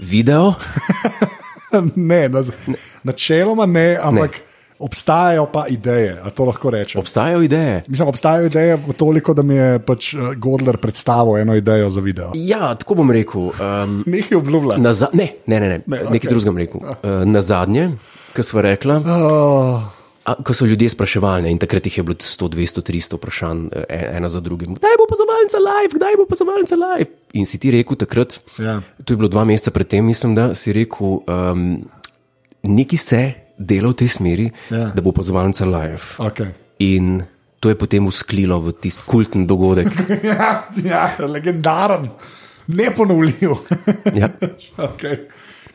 Speaker 1: video. <laughs>
Speaker 2: ne, na, načeloma ne, ampak ne. obstajajo pa ideje, a to lahko rečem.
Speaker 1: Obstajajo ideje.
Speaker 2: Mislim, obstajajo ideje v toliko, da mi je pač eh, Godler predstavil eno idejo za video.
Speaker 1: Ja, tako bom rekel. Um,
Speaker 2: Nekaj obljubljam.
Speaker 1: Na za- Ne, ne, ne, ne. ne
Speaker 2: Ne,
Speaker 1: okay. nekaj
Speaker 2: okej. Ah.
Speaker 1: drugega bom rekel. Eh, Na zadnje, kar smo rekla,
Speaker 2: Oh,
Speaker 1: a, ko so ljudje spraševali, in takrat jih je bilo 100, 200, 300 vprašanj, eh, ena za drugim, kdaj bo pa za malce live, kdaj bo pa za malce live. In si ti rekel takrat,
Speaker 2: Ja.
Speaker 1: to je bilo dva meseca predtem, mislim, da si rekel, um, neki se dela v tej smeri,
Speaker 2: Ja.
Speaker 1: da bo pa za malce live.
Speaker 2: <laughs> okay.
Speaker 1: In to je potem usklilo v tisti kulten dogodek.
Speaker 2: <laughs> ja, ja, legendaren, neponovljiv. <laughs>
Speaker 1: Ja.
Speaker 2: okay.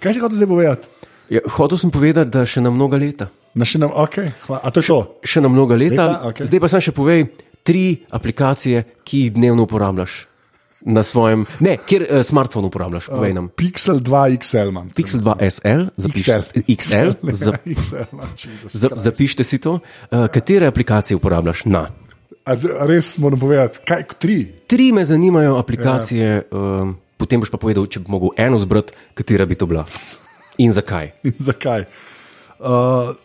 Speaker 2: Kaj si hotel zdaj povedati?
Speaker 1: Ja, hotel sem povedati, da še na mnoga leta.
Speaker 2: Na še nam, ok, hvala. A to je to?
Speaker 1: Še na mnoga leta.
Speaker 2: Leta, okej.
Speaker 1: Zdaj pa sam še povej tri aplikacije, ki jih dnevno uporabljaš na svojem, ne, kjer uh, smartphone uporabljaš,
Speaker 2: Ah.
Speaker 1: povej nam.
Speaker 2: Pixel 2 XL imam.
Speaker 1: Pixel 2 SL, zapiš,
Speaker 2: XL.
Speaker 1: XL
Speaker 2: <laughs> Ja, <laughs>
Speaker 1: za,
Speaker 2: XL, no, Jesus
Speaker 1: za,
Speaker 2: Christ.
Speaker 1: zapište si to. Uh, katere aplikacije uporabljaš na?
Speaker 2: A zdaj Res moram povedati, kaj tri. <laughs>
Speaker 1: Tri me zanimajo aplikacije,
Speaker 2: Ja.
Speaker 1: um, potem boš pa povedal, če bi mogel eno zbrati, katera bi to bila in zakaj.
Speaker 2: In zakaj? Uh,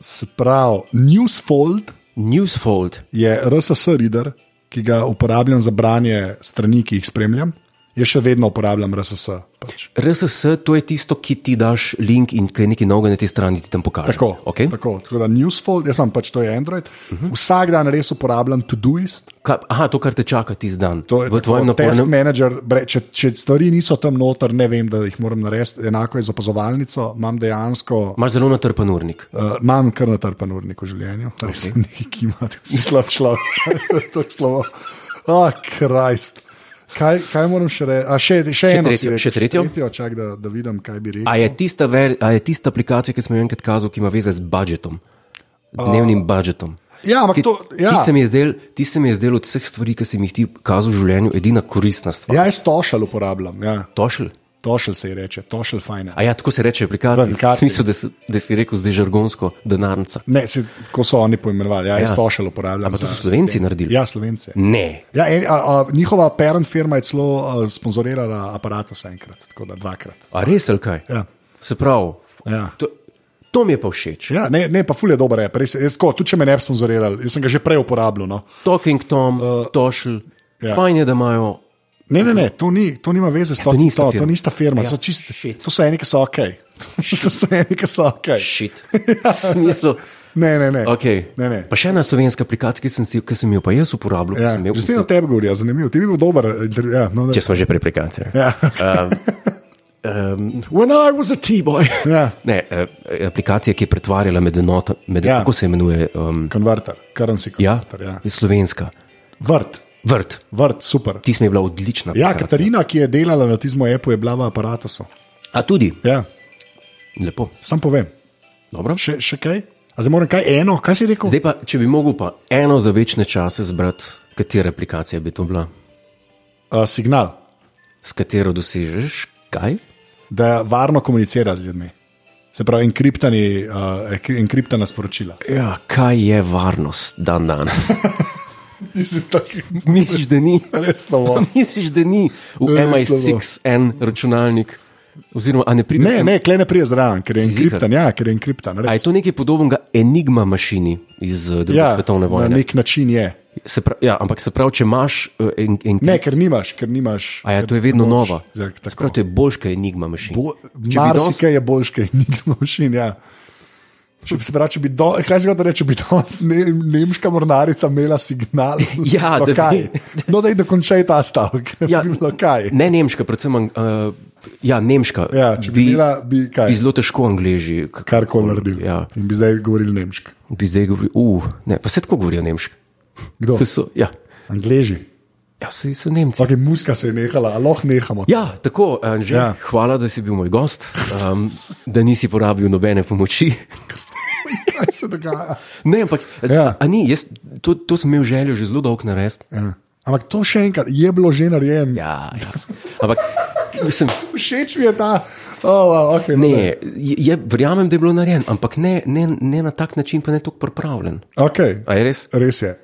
Speaker 2: Sprav, Newsfold
Speaker 1: Newsfold,
Speaker 2: je RSS reader, ki ga uporabljam za branje strani, ki jih spremljam. Jaz še vedno uporabljam RSS. Pač.
Speaker 1: RSS, to je tisto, ki ti daš link in kaj nekaj novega na tej strani ti tam pokaže.
Speaker 2: Tako,
Speaker 1: Okay?
Speaker 2: tako, tako da Newsfold, jaz imam pač to je Android. Uh
Speaker 1: Mhm.
Speaker 2: -huh. Vsak dan res uporabljam Todoist,
Speaker 1: Ka, aha, to, kar te čaka ti zdan.
Speaker 2: To je
Speaker 1: v tvojem
Speaker 2: tako, Task
Speaker 1: napornem.
Speaker 2: manager, bre, če, če stvari niso tam noter, ne vem, da jih moram narediti. Enako je z opazovalnico, imam dejansko.
Speaker 1: Imaš zelo natrpen urnik.
Speaker 2: Uh, imam kar natrpen urnik v življenju, res okay. nekaj, ki ima tako slab človek, <laughs> tako slabo. Oh, Krist. Kaj, kaj moram še reči? A, Še, še, še eno, si
Speaker 1: tretjo,
Speaker 2: rekel,
Speaker 1: še tretjo?
Speaker 2: tretjo čak, da, da vidim, kaj bi rekel.
Speaker 1: A je, tista ver, a je tista aplikacija, ki sem jo enkrat kazal, ki ima veze z budžetom, dnevnim budžetom?
Speaker 2: Ja, ampak
Speaker 1: Ki-
Speaker 2: to- ja.
Speaker 1: Ti se mi je zdel- ti se mi je zdelo od vseh stvari, ki sem jih ti kazal v življenju, edina koristna stvar.
Speaker 2: Ja, jaz tošel uporabljam, ja.
Speaker 1: Tošel.
Speaker 2: tošel se ji reče, tošel fajn.
Speaker 1: A ja, tako se reče aplikacija.
Speaker 2: Aplikaciji.
Speaker 1: V smislu, da, si- da si rekel zdaj žargonsko, denarnica.
Speaker 2: Ne, se, tako so oni poimenovali, ja, jaz
Speaker 1: Ja.
Speaker 2: ja. tošel uporabljam.
Speaker 1: Ampak to
Speaker 2: za-
Speaker 1: so Slovenci naredili.
Speaker 2: Ja, slovenci.
Speaker 1: Ne.
Speaker 2: Ja, en, a, a, njihova parent firma je celo a, sponzorirala aparatus enkrat, tako da dvakrat.
Speaker 1: A res ali kaj?
Speaker 2: Ja.
Speaker 1: Se pravi,
Speaker 2: Ja.
Speaker 1: to, to mi je pa všeč.
Speaker 2: Ja, ne, ne, pa ful je dober, rep, res, je. jaz, tako, tudi če me ne bi sponzorirali, jaz sem ga že prej uporabljal. No.
Speaker 1: Talking Tom, uh, Tošl,
Speaker 2: ja.
Speaker 1: ja. fajn je, da imajo.
Speaker 2: Ne, ne, ne, to, ni, to nima veze s to,
Speaker 1: E, to ni ista
Speaker 2: to, to
Speaker 1: firma.
Speaker 2: nista firma, ja,
Speaker 1: Ja,
Speaker 2: so čist,
Speaker 1: shit.
Speaker 2: to so eni, ki so ok. <laughs> to so eni, ki so ok.
Speaker 1: Šit.
Speaker 2: <laughs>
Speaker 1: V smislu.
Speaker 2: Ne, ne, ne.
Speaker 1: Okay.
Speaker 2: ne, ne.
Speaker 1: Pa še ena slovenska aplikacija, ki sem, si, ki sem jo pa jaz uporabljal.
Speaker 2: Ja,
Speaker 1: Ja. Imel,
Speaker 2: že spet o
Speaker 1: sem,
Speaker 2: tebi govorijo, zanimivo, ti bi bil dober. eh, inter- Ja, no, da-
Speaker 1: če smo že pri aplikaciji.
Speaker 2: ja.
Speaker 1: Eh. Um, when I was a T-boy.
Speaker 2: Ja.
Speaker 1: Ne, eh, aplikacija, ki je pretvarjala med enoto, med,
Speaker 2: Ja.
Speaker 1: ja. kako se imenuje. Um,
Speaker 2: <laughs> Konverter, currency
Speaker 1: ja,
Speaker 2: converter. Ja.
Speaker 1: je slovenska.
Speaker 2: Vrt,
Speaker 1: Vrt,
Speaker 2: vrt, super.
Speaker 1: ti smo bila odlična.
Speaker 2: Ja,
Speaker 1: aplikacija.
Speaker 2: Katarina, ki je delala na tistem appu, je bila v aparatu.
Speaker 1: A tudi,
Speaker 2: Ja,
Speaker 1: lepo.
Speaker 2: sam povem,
Speaker 1: Dobro.
Speaker 2: še, še kaj? A zdaj moram kaj eno, kaj si rekel?
Speaker 1: Zdaj pa, če bi mogel pa eno za večne čase zbrati, katera aplikacija bi to bila,
Speaker 2: Uh, signal,
Speaker 1: s katero dosežeš kaj?
Speaker 2: da varno komunicira z ljudmi. Se pravi, enkriptani, uh, enkri- enkriptana sporočila.
Speaker 1: Ja, kaj je varnost dan danes?
Speaker 2: Ti si tako
Speaker 1: <laughs> Misliš, da
Speaker 2: <laughs>
Speaker 1: ni? <laughs>
Speaker 2: resno.
Speaker 1: Misliš, da ni v
Speaker 2: Ne,
Speaker 1: MI6 en računalnik? Oziroma, a ne pride
Speaker 2: Ne,
Speaker 1: kam-
Speaker 2: ne, klej ne prije zraven, ker je
Speaker 1: Si ziher?
Speaker 2: enkriptan. Ja, ker je enkriptan.
Speaker 1: A je
Speaker 2: res.
Speaker 1: to nekaj podobnega enigma mašini iz eh, druge
Speaker 2: Ja,
Speaker 1: ja, svetovne
Speaker 2: na
Speaker 1: vojne?
Speaker 2: nek način je.
Speaker 1: Se pravi, ja, ampak se pravi, če imaš eh, en, en
Speaker 2: Ne, ker nimaš, ker nimaš.
Speaker 1: A ja, to je vedno
Speaker 2: moč.
Speaker 1: nova.
Speaker 2: Ja,
Speaker 1: Se
Speaker 2: tako.
Speaker 1: pravi, to je boljša enigma mašina.
Speaker 2: Bo-
Speaker 1: Če bi danes-
Speaker 2: Marsikaj je boljš, kaj <laughs> nikdo mašin. Ja. Če bi se pravi, če bi do, kaj se reče, če bi danes ne, nemška mornarica imela signal,
Speaker 1: <laughs> Ja,
Speaker 2: <laughs> no,
Speaker 1: da bi-
Speaker 2: kaj. No, da je dokončaj ta stavek. <laughs> Ja, bi bilo kaj.
Speaker 1: Ne nemška, predvsem. Uh, ja, nemška.
Speaker 2: Ja, če bi bila, bi kaj.
Speaker 1: bi zelo težko angliži. k-
Speaker 2: Kar koli naredil.
Speaker 1: Ja,
Speaker 2: In bi zdaj govorili nemško.
Speaker 1: bi zdaj govoril, uh, ne, pa se tako govorijo nemško.
Speaker 2: Kdo?
Speaker 1: Se so, ja,
Speaker 2: Angleži.
Speaker 1: ja se so Nemci.
Speaker 2: Vsake muska se je nehala, ali lahko nehamo.
Speaker 1: Ja, tako, Anže,
Speaker 2: Ja.
Speaker 1: ja. hvala, da si bil moj gost, um, da nisi porabil nobene pomoči. <laughs>
Speaker 2: <laughs> Kaj se dogaja?
Speaker 1: Ne, ampak,
Speaker 2: Ja.
Speaker 1: ja. a ni, jaz, to, to sem imel željo že zelo dolgo narediti.
Speaker 2: Ja. Ampak to še enkrat je bilo že narejeno.
Speaker 1: Ja, ja. Ampak, mislim,
Speaker 2: Všeč mi je ta. Oh, okay,
Speaker 1: ne, je, je, verjamem, da je bilo narejeno, ampak ne, ne, ne na tak način, pa ne tako pripravljen.
Speaker 2: Okay.
Speaker 1: A je res?
Speaker 2: Res je.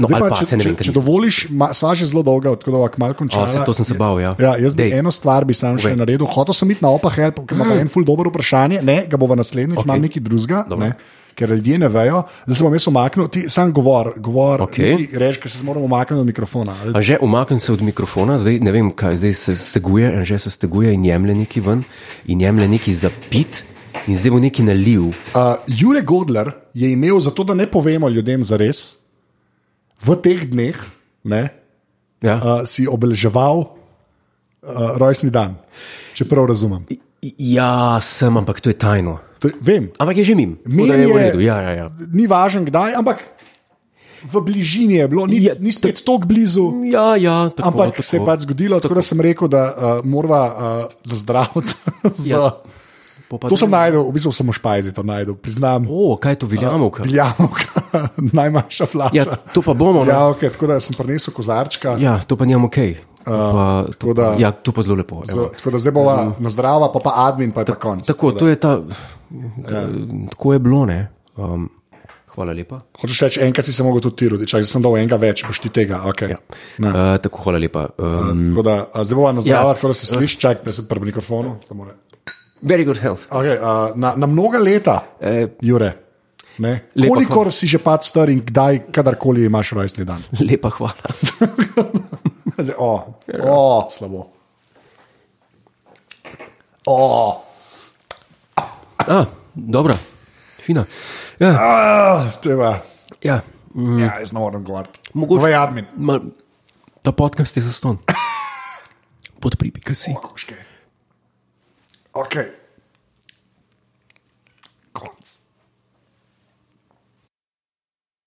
Speaker 1: No,
Speaker 2: Zdaj
Speaker 1: ali pa,
Speaker 2: če,
Speaker 1: saj ne vem,
Speaker 2: če,
Speaker 1: ker
Speaker 2: če
Speaker 1: nisem.
Speaker 2: dovoliš, ma, sva že zelo dolga, tako da lahko malo končamo.
Speaker 1: A, saj to sem se bal, ja.
Speaker 2: ja jaz bi
Speaker 1: Dej.
Speaker 2: eno stvar bi sam še
Speaker 1: Povej.
Speaker 2: naredil. Hotel sem iti na opa help, ker ima mm. en ful dobro vprašanje, ne, ga bova naslednjič, okay. imam nekaj drugega,
Speaker 1: Dobro.
Speaker 2: ne, ker ljudje ne vejo. Zdaj se bom jaz umaknil, ti sam govor, govor,
Speaker 1: Okej.
Speaker 2: okay. reč, ker se moram umakniti od mikrofona. ali-
Speaker 1: Anže, umaknem se od mikrofona, zdaj ne vem, kaj zdaj se steguje, anže se steguje in jemlje neki ven, in jemlje neki zapit, in zdaj bo neki naliv.
Speaker 2: Uh, Jure Godler je imel, zato da ne povemo ljudem za res, v teh dneh ne,
Speaker 1: Ja?
Speaker 2: uh, si obeleževal uh, rojstni dan, če prav razumem.
Speaker 1: ja, sem, ampak to je tajno.
Speaker 2: To, je- vem,
Speaker 1: Ampak je že mim, tako da
Speaker 2: Mem
Speaker 1: je v
Speaker 2: je-
Speaker 1: redu. Ja, ja, ja.
Speaker 2: ni važno kdaj, ampak v bližini je bilo, ni,
Speaker 1: Je,
Speaker 2: ni spet tako blizu.
Speaker 1: ja, ja tako,
Speaker 2: Ampak
Speaker 1: tako.
Speaker 2: se eh, je pač zgodilo, tako, tako da sem rekel, da uh, moramo uh, zdraviti <laughs> za, ja. To sem najdel, v bistvu samo špajzi to najdel, priznam.
Speaker 1: O, kaj je to veljamovka?
Speaker 2: Jamovka, <laughs> najmanjša flaša.
Speaker 1: Ja, to pa bomo. ne.
Speaker 2: Ja, okay, tako da sem prinesel kozarčka.
Speaker 1: Ja, to pa njemu ok. To pa, to,
Speaker 2: da-
Speaker 1: ja, to pa zelo lepo. evo.
Speaker 2: Tako da zdaj bova na zdrava, pa pa admin, pa je pa konc.
Speaker 1: Ja. Tako, to je ta, ja. tako je bilo. ne. Um, hvala lepa.
Speaker 2: Hočeš reči, enkrat si se mogel tudi ti roditi, čakaj, zdaj sem dal enega več, boš ti tega. Okay. Ja.
Speaker 1: Uh, tako, hvala lepa. Um,
Speaker 2: Tako da a zdaj bova na zdrava,
Speaker 1: Ja.
Speaker 2: ja. tako da se sliši, čakaj, da se pri mikrofonu. da more.
Speaker 1: very good health.
Speaker 2: Okay, a, na, na mnoga leta,
Speaker 1: Eh,
Speaker 2: Jure. Ne?
Speaker 1: lepa
Speaker 2: Kolikor si že pač star in kdaj, kadarkoli imaš rojstni dan.
Speaker 1: Lepa hvala. <laughs>
Speaker 2: Zdaj, <laughs> o, o, slabo. O,
Speaker 1: Ah, dobra, fina. Ja,
Speaker 2: a, teba.
Speaker 1: ja.
Speaker 2: Ja, jaz ne morem govoriti.
Speaker 1: Mogoče-
Speaker 2: Povej admin.
Speaker 1: Mal, ta podcast je zaston. Podpripika si.
Speaker 2: Kokoške. Okay.